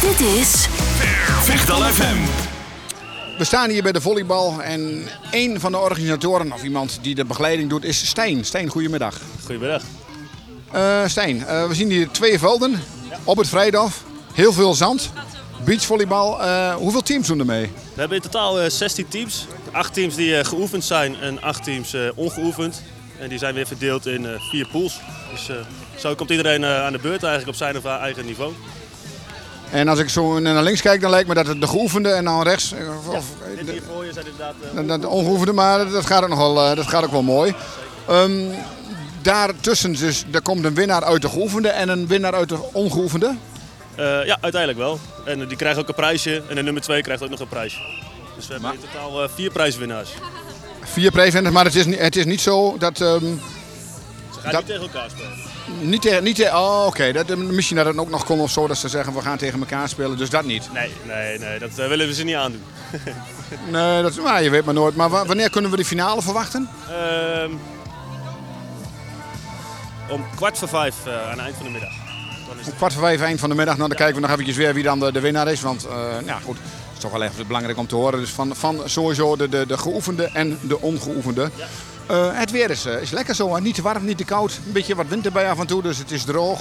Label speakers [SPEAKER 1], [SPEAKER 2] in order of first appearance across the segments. [SPEAKER 1] Dit is
[SPEAKER 2] Vechtel FM.
[SPEAKER 3] We staan hier bij de volleybal en één van de organisatoren of iemand die de begeleiding doet is Stijn. Stijn, goedemiddag.
[SPEAKER 4] Goedemiddag.
[SPEAKER 3] Eh, Stijn, eh, we zien hier twee velden op het Vrijdag. Heel veel zand. Beachvolleybal. Eh, hoeveel teams doen er mee?
[SPEAKER 4] We hebben in totaal eh, 16 teams. 8 teams die eh, geoefend zijn en 8 teams eh, ongeoefend. En die zijn weer verdeeld in eh, vier pools. Dus eh, zo komt iedereen eh, aan de beurt eigenlijk op zijn of haar eigen niveau.
[SPEAKER 3] En als ik zo naar links kijk, dan lijkt me dat het de geoefende en dan rechts. eh, Of, of,
[SPEAKER 4] Dit hier voor je zijn inderdaad... eh,
[SPEAKER 3] dat- dat ongeoefende, maar dat gaat ook, nog wel, eh, dat gaat ook wel mooi. Ehm daartussen dus, daar komt een winnaar uit de geoefende en een winnaar uit de ongeoefende.
[SPEAKER 4] eh, ja, uiteindelijk wel. En eh, die krijgen ook een prijsje. En de nummer 2 krijgt ook nog een prijsje. Dus we hebben in totaal eh, vier prijswinnaars. Ze
[SPEAKER 3] Vier preventers, maar het is, ni- het is niet zo dat... ehm,
[SPEAKER 4] gaan
[SPEAKER 3] Dat-
[SPEAKER 4] niet tegen elkaar spelen.
[SPEAKER 3] Niet tegen, niet tegen, oh, oké. Dat, eh, misschien dat het ook nog kon of zo, dat ze zeggen we gaan tegen elkaar spelen, dus dat niet.
[SPEAKER 4] Nee, nee, nee. Dat eh, willen we ze niet aandoen.
[SPEAKER 3] Nee, dat, maar je weet maar nooit. Maar wa- wanneer kunnen we de finale verwachten?
[SPEAKER 4] Ehm, om kwart voor vijf eh, aan het eind van de middag. Dan is het.
[SPEAKER 3] Kwart voor vijf, eind van de middag. Nou, dan kijken we nog eventjes weer wie dan de, de winnaar is. Want, eh ja goed, het is toch wel even belangrijk om te horen. Dus van, van sowieso de, de, de geoefende en de ongeoefende. Eh, het weer is, eh, is lekker zo, hè. niet te warm, niet te koud. Een beetje wat wind erbij af en toe, dus het is droog.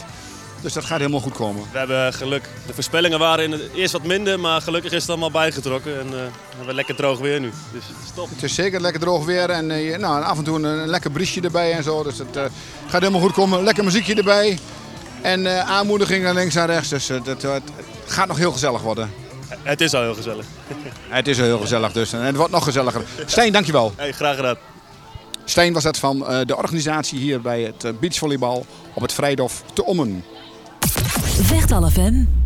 [SPEAKER 3] Dus dat gaat helemaal goed komen.
[SPEAKER 4] We hebben geluk. De voorspellingen waren in het eerst wat minder, maar gelukkig is het allemaal bijgetrokken. En eh, we hebben lekker droog weer nu. Dus stop.
[SPEAKER 3] Het is zeker lekker droog weer en eh, je- nou, en af en toe een, een lekker briesje erbij en zo. Dus het eh, gaat helemaal goed komen. Lekker muziekje erbij. En eh, aanmoediging naar links en rechts. Dus eh, dat, eh, het gaat nog heel gezellig worden.
[SPEAKER 4] Het is al heel gezellig.
[SPEAKER 3] Het is al heel gezellig dus. En het wordt nog gezelliger. Stijn, dankjewel.
[SPEAKER 4] Hey, graag gedaan.
[SPEAKER 3] Stijn was dat van eh, de organisatie hier bij het eh, beachvolleybal op het Vrijdof te Ommen.
[SPEAKER 1] Vechtal FM.